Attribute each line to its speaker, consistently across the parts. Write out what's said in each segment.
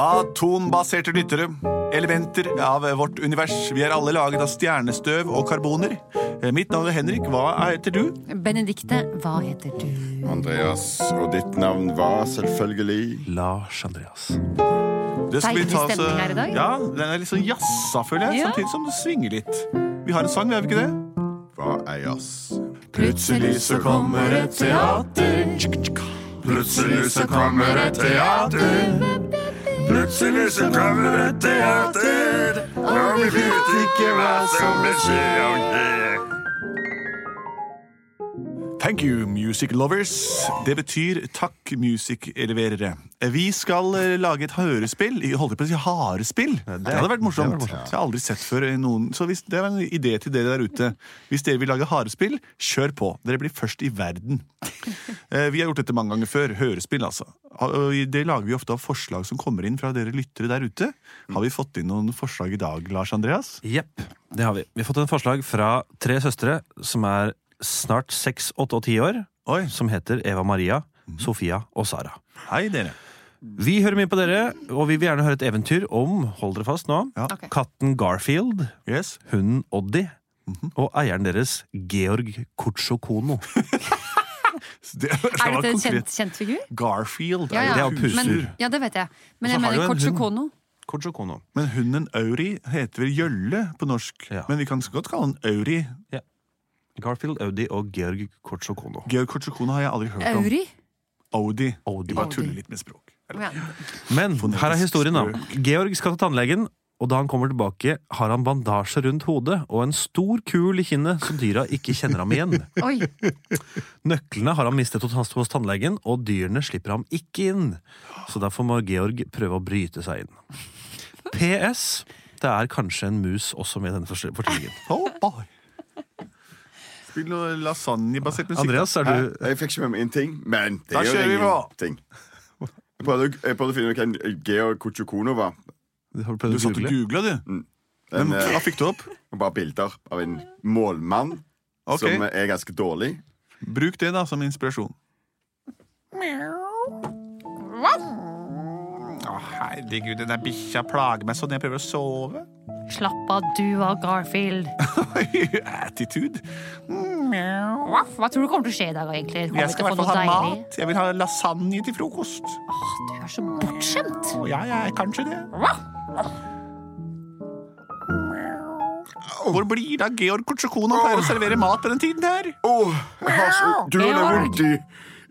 Speaker 1: Atombaserte lyttere. Elementer av vårt univers. Vi er alle laget av stjernestøv og karboner. Mitt navn er Henrik. Hva heter du?
Speaker 2: Benedikte, hva heter du?
Speaker 3: Andreas, og ditt navn var selvfølgelig
Speaker 1: Lars Andreas.
Speaker 2: Deilig stemning her i dag.
Speaker 1: Ja, Den er litt sånn jazza, føler jeg,
Speaker 2: Ja.
Speaker 1: samtidig som det svinger litt. Vi har en sang, vi har vi ikke det?
Speaker 3: Hva er jazz?
Speaker 2: Plutselig så kommer et teater.
Speaker 3: Plutselig så kommer et teater. Plutselig så kommer et teater. Og vi vet ikke hva som vil skje og skje.
Speaker 1: Thank you, music lovers. Det betyr takk, music-eleverere. Vi skal eh, lage et hørespill. Jeg Holdt på å si harespill. Det, hadde vært morsomt. Det, har jeg aldri sett før. i Noen. Så hvis, det er en idé til dere der ute. Hvis dere vil lage harespill, kjør på. Dere blir først i verden. Eh, Vi har gjort dette mange ganger før. Hørespill, altså. Ha- og i- Det lager vi ofte av forslag som kommer inn fra dere lyttere der ute. Har vi fått inn noen forslag i dag, Lars Andreas?
Speaker 4: Jepp, det har vi. Vi har fått en forslag fra tre søstre som er snart seks, åtte og ti år.
Speaker 1: Oi. Mhm.
Speaker 4: Som heter Eva Maria, Sofia og Sara.
Speaker 1: Hei, dere.
Speaker 4: Vi hører mye på dere, og vi vil gjerne høre et eventyr om hold dere fast nå,
Speaker 1: Ja.
Speaker 2: Ok.
Speaker 4: katten Garfield,
Speaker 1: Yes. Mhm.
Speaker 4: hunden Oddi og eieren deres Georg Kutsjokono.
Speaker 1: Det,
Speaker 2: Er
Speaker 1: var
Speaker 2: dette en
Speaker 1: konkret.
Speaker 2: kjent, kjent figur?
Speaker 1: Garfield er
Speaker 2: Ja,
Speaker 1: jo
Speaker 2: ja.
Speaker 1: et
Speaker 4: Det er jo
Speaker 1: husdyr.
Speaker 2: Men, ja, det vet jeg. Men
Speaker 4: Og så
Speaker 2: jeg
Speaker 4: har
Speaker 2: mener
Speaker 4: du en
Speaker 2: Kotsjokono.
Speaker 4: hund. Kutsjokono.
Speaker 1: Men hunden Auri heter vel Gjølle på norsk.
Speaker 4: Ja.
Speaker 1: Men vi kan så godt kalle den Auri.
Speaker 4: Garfield, Audi og Georg Kutsjokono.
Speaker 1: Georg Kortsjokona har jeg aldri hørt om.
Speaker 2: Auri.
Speaker 1: Audi.
Speaker 4: Audi.
Speaker 1: Vi bare
Speaker 2: Audi.
Speaker 1: tuller litt med språk.
Speaker 2: Ja.
Speaker 4: Men
Speaker 1: Fonetisk
Speaker 4: her er historien, da. Georg skal til tannlegen, og da han kommer tilbake, har han bandasje rundt hodet og en stor kul i kinnet så dyra ikke kjenner ham igjen.
Speaker 2: Oi.
Speaker 4: Nøklene har han mistet hos hos tannlegen, og dyrene slipper ham ikke inn. Så derfor må Georg prøve å bryte seg inn. PS. Det er kanskje en mus også med i denne forsl- fortellingen.
Speaker 1: Oh, boy. Spill noe lasagnebasert musikk.
Speaker 4: Andreas, er du
Speaker 3: Jeg fikk ikke med meg en ting, men det
Speaker 1: Da
Speaker 3: er
Speaker 1: kjører vi
Speaker 3: jo
Speaker 1: på.
Speaker 3: ingenting. Jeg prøvde, jeg prøvde å finne ut hvem Georg Kutsjokono var.
Speaker 4: Har du
Speaker 1: Du
Speaker 4: prøvd å
Speaker 1: satt og
Speaker 4: google?
Speaker 1: googla, du.
Speaker 3: En,
Speaker 1: Hvem,
Speaker 3: eh,
Speaker 1: hva fikk du opp?
Speaker 3: bare bilder av en målmann
Speaker 1: Ok.
Speaker 3: som er ganske dårlig.
Speaker 1: Bruk det da som inspirasjon. Å, herregud, den der bikkja plager meg sånn. Jeg prøver å sove.
Speaker 2: Slapp av, du av Garfield.
Speaker 1: Attitude.
Speaker 2: Waff. Hva tror du kommer til å skje i dag, egentlig? Kommer
Speaker 1: Jeg
Speaker 2: vi til
Speaker 1: skal i
Speaker 2: å få
Speaker 1: hvert
Speaker 2: noe
Speaker 1: fall ha
Speaker 2: deilig?
Speaker 1: mat. Jeg vil ha lasagne til frokost.
Speaker 2: Åh, du er så bortskjemt.
Speaker 1: Å, ja, ja, kanskje det. Hvor blir da Georg Kortsjokona pleier å servere mat på den tiden her?
Speaker 3: Å, jeg har så døende
Speaker 2: Georg!
Speaker 3: vondt i,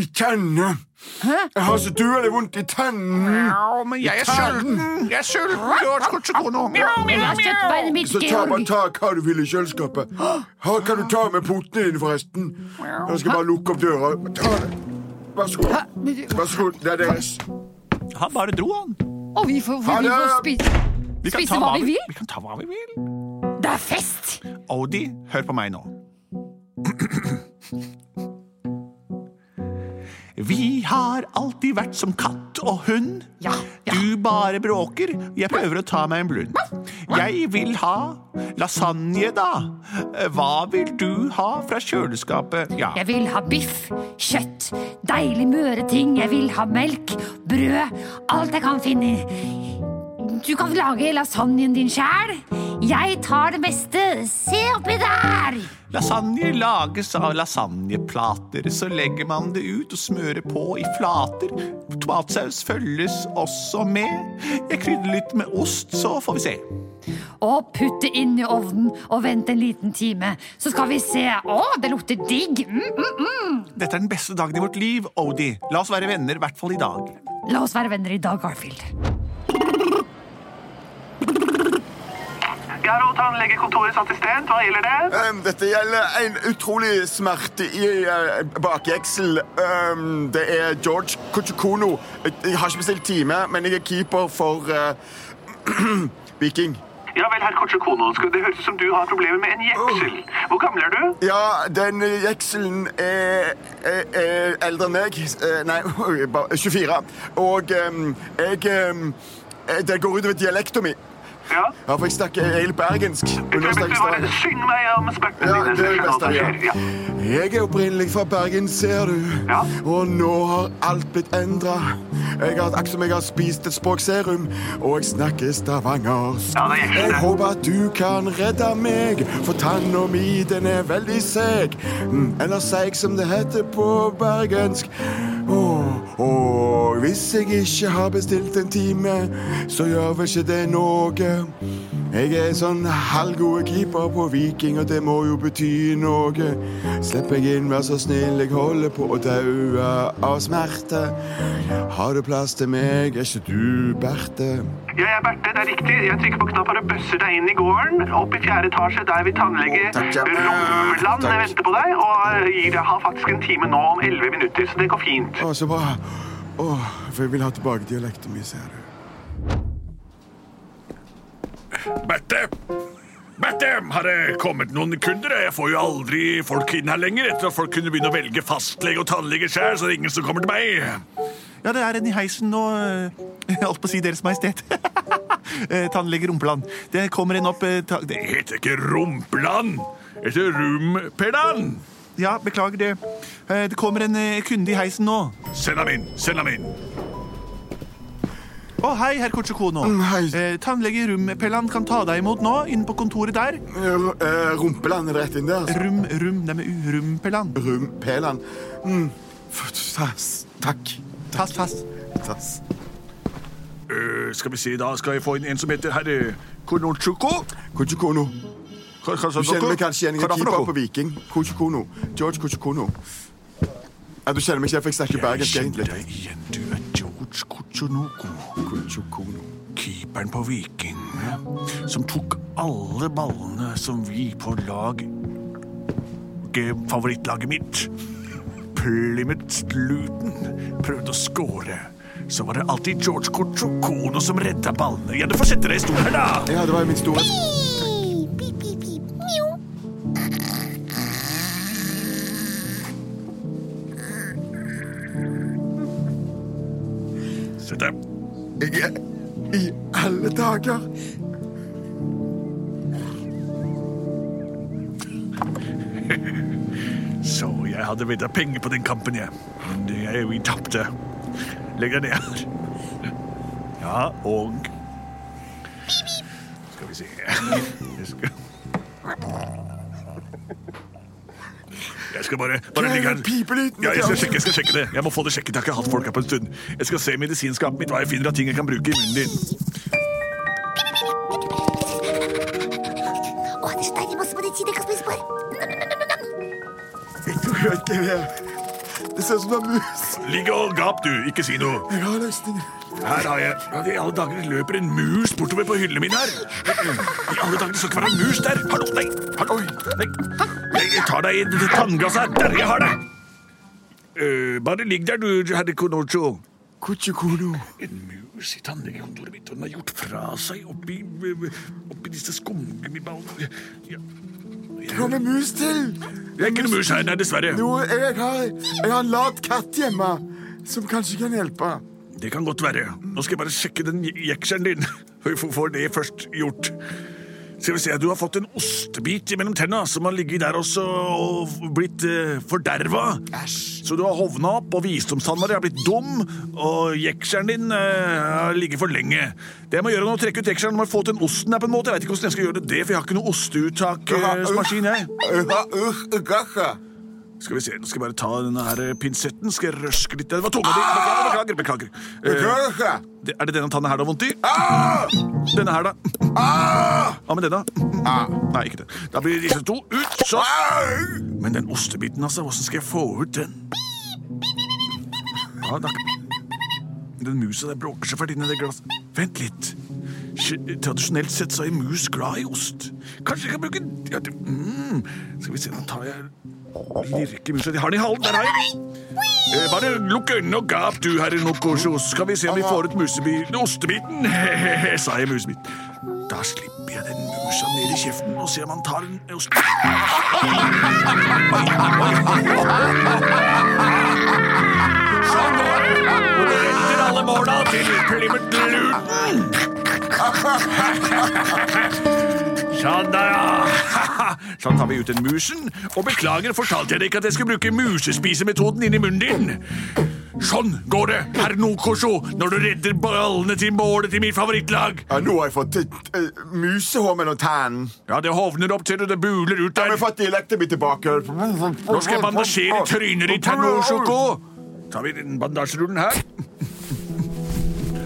Speaker 3: i tennene. Jeg har så døende vondt i tennene.
Speaker 1: Ja, men jeg er sulten! Jeg er sulten, Georg Kortsjokona!
Speaker 2: Du har støttebeinet mitt,
Speaker 3: Så ta bare
Speaker 2: Georg.
Speaker 3: ta hva du vil i kjøleskapet. Her kan du ta med potene dine, forresten. Jeg skal bare lukke opp døra. Ta det. Vær så god. Vær så god. Det er deres.
Speaker 1: Han bare dro, han.
Speaker 2: Og vi får, vi får
Speaker 3: Ha det!
Speaker 2: spise.
Speaker 1: Vi kan
Speaker 2: Spise
Speaker 1: ta
Speaker 2: hva vi vil.
Speaker 1: Vi kan ta hva vi vil.
Speaker 2: Det er fest!
Speaker 1: Audi, hør på meg nå. Vi har alltid vært som katt og hund.
Speaker 2: Ja, ja.
Speaker 1: Du bare bråker. Jeg prøver å ta meg en blund. Jeg vil ha lasagne, da. Hva vil du ha fra kjøleskapet? Ja.
Speaker 2: Jeg vil ha biff, kjøtt, deilig møre ting. Jeg vil ha melk, brød, alt jeg kan finne. Du kan lage lasagnen din sjæl. Jeg tar det meste. Se oppi der!
Speaker 1: Lasagne lages av lasagneplater. Så legger man det ut og smører på i flater. Tomatsaus følges også med. Jeg krydrer litt med ost, så får vi se.
Speaker 2: Og putt det inn i ovnen og vent en liten time. Så skal vi se. Å, det lukter digg. Mm, mm, mm.
Speaker 1: Dette er den beste dagen i vårt liv, Odie. La oss være venner, i hvert fall i dag.
Speaker 2: La oss være venner i dag, Garfield.
Speaker 5: Garo tannlegekontoret satt i sted. Hva gjelder det?
Speaker 3: Ehm, dette gjelder en utrolig smerte i eh, bakjeksel. Ehm, det er George Kuchukono. Jeg, jeg har ikke bestilt time, men jeg er keeper for eh, Viking.
Speaker 5: Ja vel, herr Kortsekono. Det høres ut som du har problemer med en jeksel. Hvor gammel er du?
Speaker 3: Ja, den jekselen er, er, er eldre enn meg. Eh, Nei, bare 24. Og ehm, jeg ehm, eh, Det går utover dialekta mi.
Speaker 5: Ja?
Speaker 3: Ja, for jeg snakker egentlig bergensk. men nå
Speaker 5: Jeg tror jeg
Speaker 3: snakker
Speaker 5: burde
Speaker 3: jeg
Speaker 5: bare synge meg om smertene
Speaker 3: Ja,
Speaker 5: dine.
Speaker 3: det er
Speaker 5: så jeg
Speaker 3: det beste
Speaker 5: skjønner hva som
Speaker 3: jeg
Speaker 5: skjer.
Speaker 3: gjør. Jeg er opprinnelig fra Bergen, ser du.
Speaker 5: Ja.
Speaker 3: Og nå har alt blitt endra. Jeg har akkurat som jeg har spist et språkserum, og jeg snakker stavangersk.
Speaker 5: Ja, det er ikke
Speaker 3: jeg
Speaker 5: det.
Speaker 3: håper at du kan redde meg, for tanna mi den er veldig seig. Mm, Eller seig, som det heter på bergensk. Åh, åh, hvis jeg ikke har bestilt en time, så gjør vel ikke det noe. Jeg er sånn halvgode keeper på Viking, og det må jo bety noe. Slipp meg inn, vær så snill, jeg holder på å daue av smerte. Har du plass til meg, er ikke du Berte?
Speaker 5: Ja, ja, Berthe, det er riktig. Jeg trykker på knappen og bøsser deg inn i gården. Opp i fjerde etasje, der vil tannlege
Speaker 3: Å, takk, ja.
Speaker 5: Lovland
Speaker 3: Takk.
Speaker 5: vente på deg. Og eh, gir deg har faktisk en time nå om elleve minutter, så det går fint.
Speaker 3: Å, så bra. Å, for jeg vil ha tilbake dialekten min, ser du.
Speaker 6: Berte! Berte, har det kommet noen kunder? Jeg får jo aldri folk inn her lenger. Etter at folk kunne begynne å velge fastlege og tannlege sjøl, så er det ingen som kommer til meg.
Speaker 1: Ja, det er en i heisen nå. eh, Jeg holdt på å si Deres Majestet. Eh, Tannlege Rumpeland. Det kommer en opp eh, ta
Speaker 6: Jeg
Speaker 1: det.
Speaker 6: heter ikke Rumpeland. Jeg heter Rumpeland.
Speaker 1: Ja, beklager det. Eh, Det kommer en eh, kunde i heisen nå.
Speaker 6: Send ham inn. Send ham inn.
Speaker 1: Å, hei, herr Kortsjokono.
Speaker 3: Mm, hei.
Speaker 1: Eh, Tannlege Rumpelland kan ta deg imot nå, inne på kontoret der.
Speaker 3: R- eh, Rumpeland er det rett inn der. altså.
Speaker 1: Rum, rum, det er med u, Rumpeland.
Speaker 3: Rumpeland. Mm. F- Tass. Takk.
Speaker 1: Tass, tass.
Speaker 3: Tass.
Speaker 6: Øh, skal vi se, da skal jeg få inn en som heter herr Konochuko.
Speaker 3: Kuchukono.
Speaker 6: Hva- hva sa
Speaker 3: Du kjenner
Speaker 6: dere?
Speaker 3: meg kanskje igjen.
Speaker 6: Hva
Speaker 3: Jeg
Speaker 6: da
Speaker 3: er
Speaker 6: for
Speaker 3: keeper
Speaker 6: noe?
Speaker 3: på Viking. Kuchukono. George Kuchukono. Ja, du kjenner meg ikke, for jeg snakker
Speaker 6: Jeg
Speaker 3: bergensk
Speaker 6: kjenner
Speaker 3: egentlig.
Speaker 6: deg igjen. Du er George Kochonoko.
Speaker 3: Kuchukono.
Speaker 6: keeperen på Viking, som tok alle ballene som vi på lag G- Favorittlaget mitt, Plymouth Luton, prøvde å score. Så var det alltid George Cortrocono som redda ballene. Ja, Du får sette deg i stolen her, da!
Speaker 3: Ja, det var min store
Speaker 7: Pip, pip, pip. Mjau.
Speaker 6: Sett deg.
Speaker 3: Jeg er i alle dager.
Speaker 6: Så jeg hadde vedda penger på den kampen, jeg. Men det- jeg- Vi tapte. Legg deg ned her. Ja, og Skal vi se Jeg skal, jeg skal bare, bare ligge her.
Speaker 3: Pipelyden.
Speaker 6: Ja, jeg skal sjekke, jeg skal sjekke det. Jeg må få det sjekket. Jeg har ikke hatt folk her på en stund. Jeg skal se i medisinskapet mitt hva jeg finner av ting jeg kan bruke i munnen din.
Speaker 7: О, ты что, не мог смотреть себе, как
Speaker 3: Jeg tror jeg ikke det. Det ser ut som det er mus.
Speaker 6: Ligg og gap, du. Ikke si noe.
Speaker 3: Jeg har løsninger.
Speaker 6: Her har jeg Ja, I alle dager det løper en mus bortover på hyllene mine her. I alle dager det skal ikke være en mus der. Hallo, nei, hallo. Nei. Jeg jeg tar deg i det tannglasset her. Der, jeg har det. Eh, bare ligg der, du, herre Konocho.
Speaker 3: Kuchukono.
Speaker 6: En mus i tannlegekontoret mitt, og den har gjort fra seg oppi, eh, oppi disse skumgummiballene. Ja.
Speaker 3: Kom en mus til.
Speaker 6: Det er ikke noe mus her, nei, dessverre.
Speaker 3: Jo, jeg har, jeg har en lat katt hjemme som kanskje kan hjelpe.
Speaker 6: Det kan godt være. Nå skal jeg bare sjekke den je- jekselen din. Vi får- får det først gjort. Skal vi se, Du har fått en ostebit mellom tenna som har ligget der også og blitt eh, forderva.
Speaker 3: Æsj.
Speaker 6: Så du har hovna opp, og visdomstanna di har blitt dum, og jekselen din eh, har ligget for lenge. Det jeg må gjøre nå, trekke ut jekselen og få til den osten her på en måte. Jeg vet ikke hvordan jeg skal gjøre det, det, for jeg har ikke noe osteuttaksmaskin, jeg. Skal vi se, nå skal jeg bare ta denne her eh, pinsetten, skal jeg røske litt. Det var tunga di. Beklager, beklager. beklager. Eh, det- er det denne tanna her du har vondt i? Denne her, da? Hva med denne? Nei, ikke det. Da blir disse to ut, så. Men den ostebiten, altså. Hvordan skal jeg få ut den? Ja, da. Den musa der bråker seg fælt inni det glasset. Vent litt. Sj- Tradisjonelt sett så er mus glad i ost. Kanskje jeg kan bruke ja, det, mm. Skal vi se, da tar jeg lirkemusa. Jeg har den i halen. Der har jeg den. Eh, Bare lukk øynene og gap, du herre Nokoso. Skal vi se om vi får ut musebiten Ostebiten, he-he-he, sa jeg musebit. Da slipper jeg den musa ned i kjeften og ser om han tar en ost... Sånn går det. Og det retter alle måla til Plymouth Luton. Sånn, da, ja. sånn tar vi ut den musen. Og beklager, fortalte jeg deg ikke at jeg skulle bruke musespisemetoden inni munnen din? Sånn går det, herr Nokoso, når du redder ballene til målet til mitt favorittlag.
Speaker 3: Ja, nå har jeg fått et, eh, musehår mellom tennene.
Speaker 6: Ja, det hovner opp til du det buler
Speaker 3: Jeg
Speaker 6: ut der.
Speaker 3: har fått dialekten min tilbake. Nå
Speaker 6: Nå skal jeg bandasjere trynet ditt, herr Nordsjoko. Tar vi den bandasjerullen her.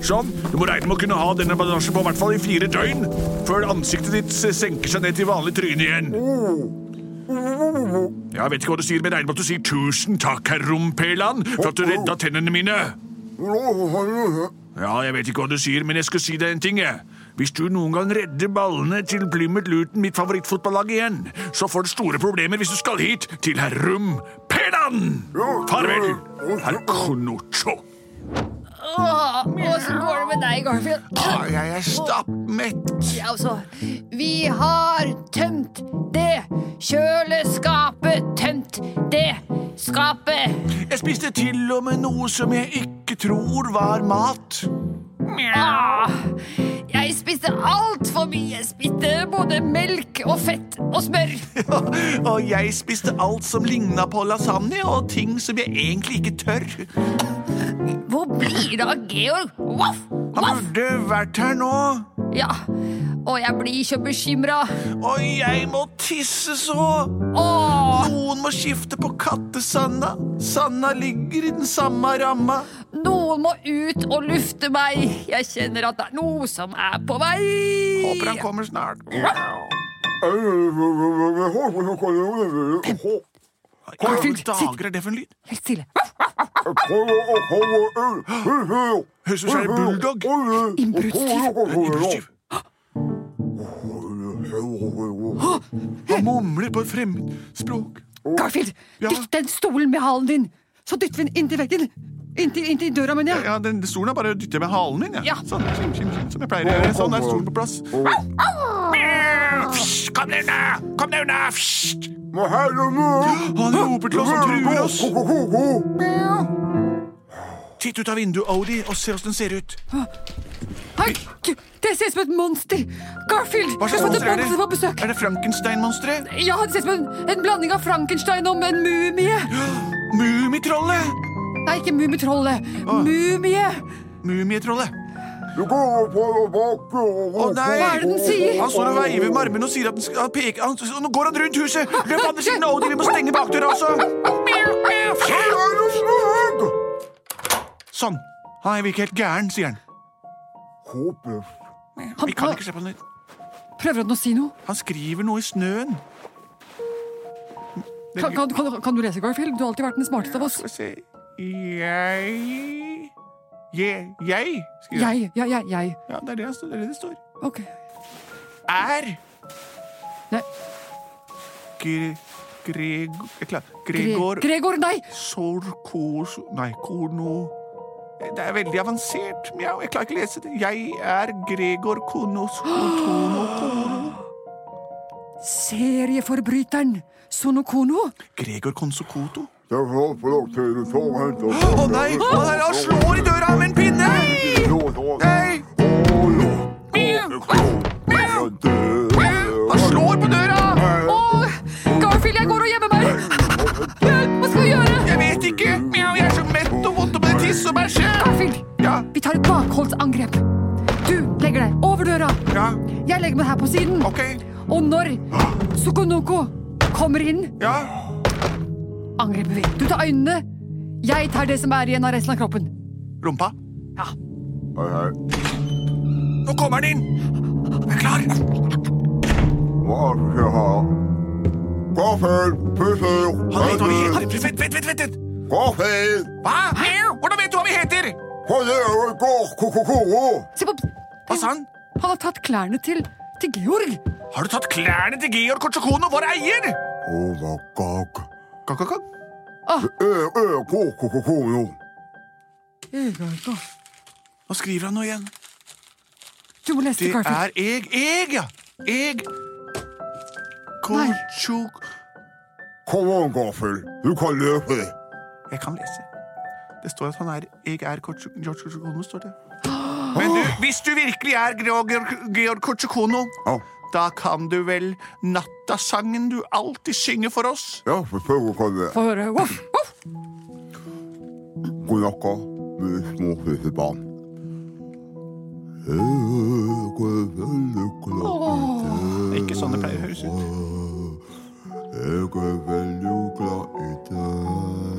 Speaker 6: Sånn. Du må regne med å kunne ha denne bandasjen på i hvert fall i fire døgn før ansiktet ditt eh, senker seg ned til vanlig tryne igjen. Jeg vet ikke hva du sier, men jeg regner med at du sier tusen takk, herr Rumpeland,
Speaker 1: Oh,
Speaker 6: for at du redda tennene mine. Ja, jeg vet ikke hva du sier, men jeg skal si deg en ting, jeg. Hvis du noen gang redder ballene til Plymouth Luton, mitt favorittfotballag, igjen, så får du store problemer hvis du skal hit til herr Rum Pedan! Farvel, herr Knocho.
Speaker 8: Åh, Åssen går det med deg, Garfield?
Speaker 1: Jeg er stappmett.
Speaker 8: Ja, Altså, vi har tømt det kjøleskapet. Tømt det skapet.
Speaker 1: Jeg spiste til og med noe som jeg ikke tror var mat.
Speaker 8: Ah, jeg spiste altfor mye. Jeg spiste både melk og fett og smør.
Speaker 1: Og jeg spiste alt som ligna på lasagne, og ting som jeg egentlig ikke tør.
Speaker 8: Hvor blir det av Georg? Voff, voff.
Speaker 1: Burde vært her nå.
Speaker 8: Ja, og jeg blir så bekymra.
Speaker 1: Og jeg må tisse så.
Speaker 8: Åh,
Speaker 1: Noen må skifte på kattesanda. Sanda ligger i den samme ramma.
Speaker 8: noen må ut og lufte meg. Jeg kjenner at det er noe som er på vei.
Speaker 1: Håper han kommer snart.
Speaker 8: Garfield,
Speaker 1: Hva
Speaker 8: sitt.
Speaker 1: dager er det for en lyd?
Speaker 8: Helt stille.
Speaker 1: Høres ut som en bulldog. Impulsiv. Han mumler på et fremmed språk.
Speaker 8: Garfield, dytt den stolen med halen din. Så dytter vi den inntil veggen. Inntil, inntil døra, mener jeg.
Speaker 1: Ja, den stolen er bare å dytte med halen min.
Speaker 8: Ja.
Speaker 1: Ja. Sånn, skim, skim, skim, som jeg pleier å gjøre. Sånn er stolen på plass.
Speaker 6: Fysj, Kom deg unna! Kom deg unna! Fysj!
Speaker 1: Han roper til oss og truer oss. Titt ut av vinduet, Odie, og se åssen den ser ut.
Speaker 8: Hei, Gud, det ser ut som et monster. Garfield,
Speaker 1: Hva slags
Speaker 8: det
Speaker 1: monster er
Speaker 8: et monster på
Speaker 1: det?
Speaker 8: besøk.
Speaker 1: Er det Frankenstein-monsteret?
Speaker 8: Ja, det ser ut som en, en blanding av Frankenstein og en mumie.
Speaker 1: Mummitrollet!
Speaker 8: Nei, ikke mumietrollet. Mumie.
Speaker 1: Mumietrollet. Å,
Speaker 3: Å
Speaker 1: nei!
Speaker 8: Hva er det den sier?
Speaker 1: Han står og veiver med armene og sier at den skal han peker han, Nå går han rundt huset! Løp andre siden av Odie, vi må stenge bakdøra også! Sånn. Han virker helt gæren, sier han.
Speaker 8: Han
Speaker 1: Vi kan ikke slippe han ut.
Speaker 8: prøver han å si noe.
Speaker 1: Han skriver noe i snøen.
Speaker 8: Kan, kan, kan, kan du lese, Garfield? Du har alltid vært den smarteste av oss.
Speaker 1: Skal vi se Jeg Jeg, jeg skriver han.
Speaker 8: Jeg, ja, jeg, jeg.
Speaker 1: Ja, det er det, han står- det er det det står.
Speaker 8: Ok.
Speaker 1: Er
Speaker 8: Nei.
Speaker 1: Gre... Greg... Jeg klarer
Speaker 8: Gre-
Speaker 1: Gregor
Speaker 8: Gregor, nei!
Speaker 1: Sorkos... Nei, korno... Det er veldig avansert. Mjau, jeg klarer ikke å lese det. Jeg er Gregor Konos Kotono Kono.
Speaker 8: Serieforbryteren Sonokono.
Speaker 1: Gregor Konsokoto? Å nei! Han, er, han slår i døra med en pinne! Nei! Han slår på døra!
Speaker 8: Åh, Garfield, jeg går og gjemmer meg! Hjelp, hva skal vi gjøre?
Speaker 1: Jeg vet ikke! Mjau, jeg er så mett og vondt om det tiss og bæsje!
Speaker 8: Garfield,
Speaker 1: Ja,
Speaker 8: vi tar et bakholdsangrep. Du legger deg over døra.
Speaker 1: ja,
Speaker 8: Jeg legger meg her på siden.
Speaker 1: ok.
Speaker 8: Og når Sokonoko kommer inn,
Speaker 1: Ja,
Speaker 8: angriper vi. Du tar øynene. Jeg tar det som er igjen av resten av kroppen.
Speaker 1: rumpa.
Speaker 8: Ja.
Speaker 1: Nå kommer han inn! Jeg er klar! Han vet hva vi heter. Vent, vent, vent, vent, vent! Hva? Mjau, Hvordan vet du hva vi heter?
Speaker 8: Se på
Speaker 1: Hva sa han?
Speaker 8: Han har tatt klærne til, til Georg.
Speaker 1: Har du tatt klærne til Georg Kortsokono, vår eier? Kak, kak, kak. Nå skriver han noe igjen.
Speaker 8: Du må lese
Speaker 1: Det
Speaker 8: det, Garfield.
Speaker 1: er eg. Eg, ja. Eg Kortsjok...
Speaker 3: Kom on, Gaffel. Du kan løpe.
Speaker 1: Jeg kan lese. Det står at han er Jeg er Kortsjok... George Kortsokono, står det. Men du, Hvis du virkelig er Georg, Georg Kortsjokono,
Speaker 3: Å.
Speaker 1: da kan du vel nattasangen du alltid synger for oss?
Speaker 3: Ja, vi prøver å komme
Speaker 8: Få høre. Voff, voff.
Speaker 3: God natt, mine små søte barn.
Speaker 1: Ikke sånn det pleier å høres ut.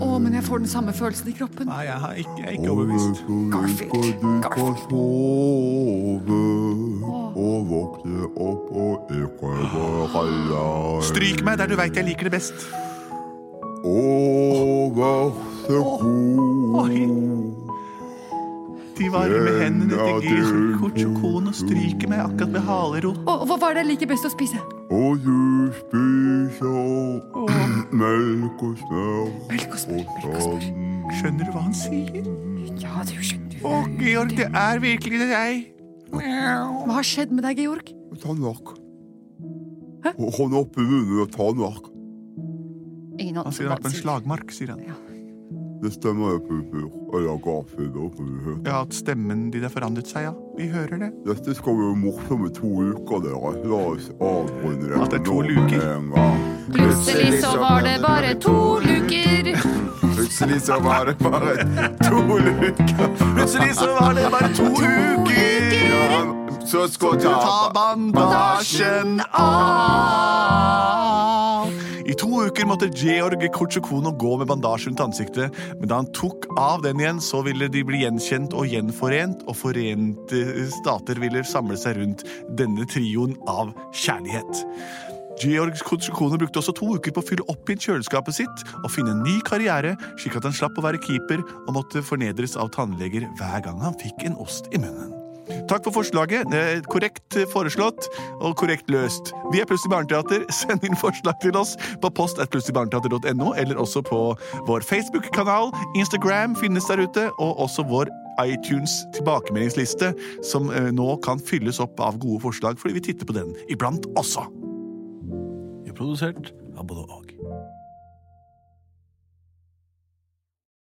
Speaker 8: Å, men jeg får den samme følelsen i kroppen.
Speaker 1: Nei, jeg, har ikke, jeg er ikke overbevist.
Speaker 8: Garfield. Garfield.
Speaker 1: Stryk meg der du veit jeg liker det best. Oi. De varme hendene til Georg Kortsjokono stryker meg akkurat med haleroten.
Speaker 8: Å, hva var det jeg liker best å spise?
Speaker 3: Og du spiser melk
Speaker 8: Melk
Speaker 3: og smør
Speaker 8: og smør.
Speaker 3: og
Speaker 8: Melk og smør.
Speaker 3: sand.
Speaker 1: Skjønner du hva han sier?
Speaker 8: Ja, du skjønner.
Speaker 1: Å, Georg, det er virkelig deg.
Speaker 8: Hva har skjedd med deg, Georg?
Speaker 3: Tannverk. Hånd opp i munnen og tannverk.
Speaker 8: Ingen
Speaker 1: Han
Speaker 8: anelse
Speaker 1: sier det har
Speaker 8: om hva
Speaker 1: vært på en slagmark, sier han.
Speaker 3: Det stemmer jeg, Pupur. Eller Garfield. og Pupur.
Speaker 1: Ja, at stemmen din har forandret seg, ja. Vi hører det.
Speaker 3: Dette skal være morsomme to uker, dere. La oss avrunde det
Speaker 1: At det er to
Speaker 3: nå med
Speaker 1: luker?
Speaker 3: en gang.
Speaker 8: Plutselig så var det bare to luker.
Speaker 3: Plutselig så var det bare to luker.
Speaker 1: Plutselig så var det bare to uker.
Speaker 3: Ja, så skal jeg
Speaker 1: Ta
Speaker 3: ta
Speaker 1: bandasjen av. I to uker måtte Georg Kortsjokono gå med bandasje rundt ansiktet, men da han tok av den igjen, så ville de bli gjenkjent og gjenforent, og forente stater ville samle seg rundt denne trioen av kjærlighet. Georg Kortsjokono brukte også to uker på å fylle opp i kjøleskapet sitt og finne en ny karriere, slik at han slapp å være keeper og måtte fornedres av tannleger hver gang han fikk en ost i munnen. Takk for forslaget. Eh, Korrekt foreslått og korrekt løst. Vi er Plutselig barneteater. Send inn forslag til oss på post at plutseligbarneteater.no, eller også på vår Facebook-kanal. Instagram finnes der ute, og også vår iTunes tilbakemeldingsliste, som eh, nå kan fylles opp av gode forslag, fordi vi titter på den iblant også.
Speaker 4: Vi er produsert av både og.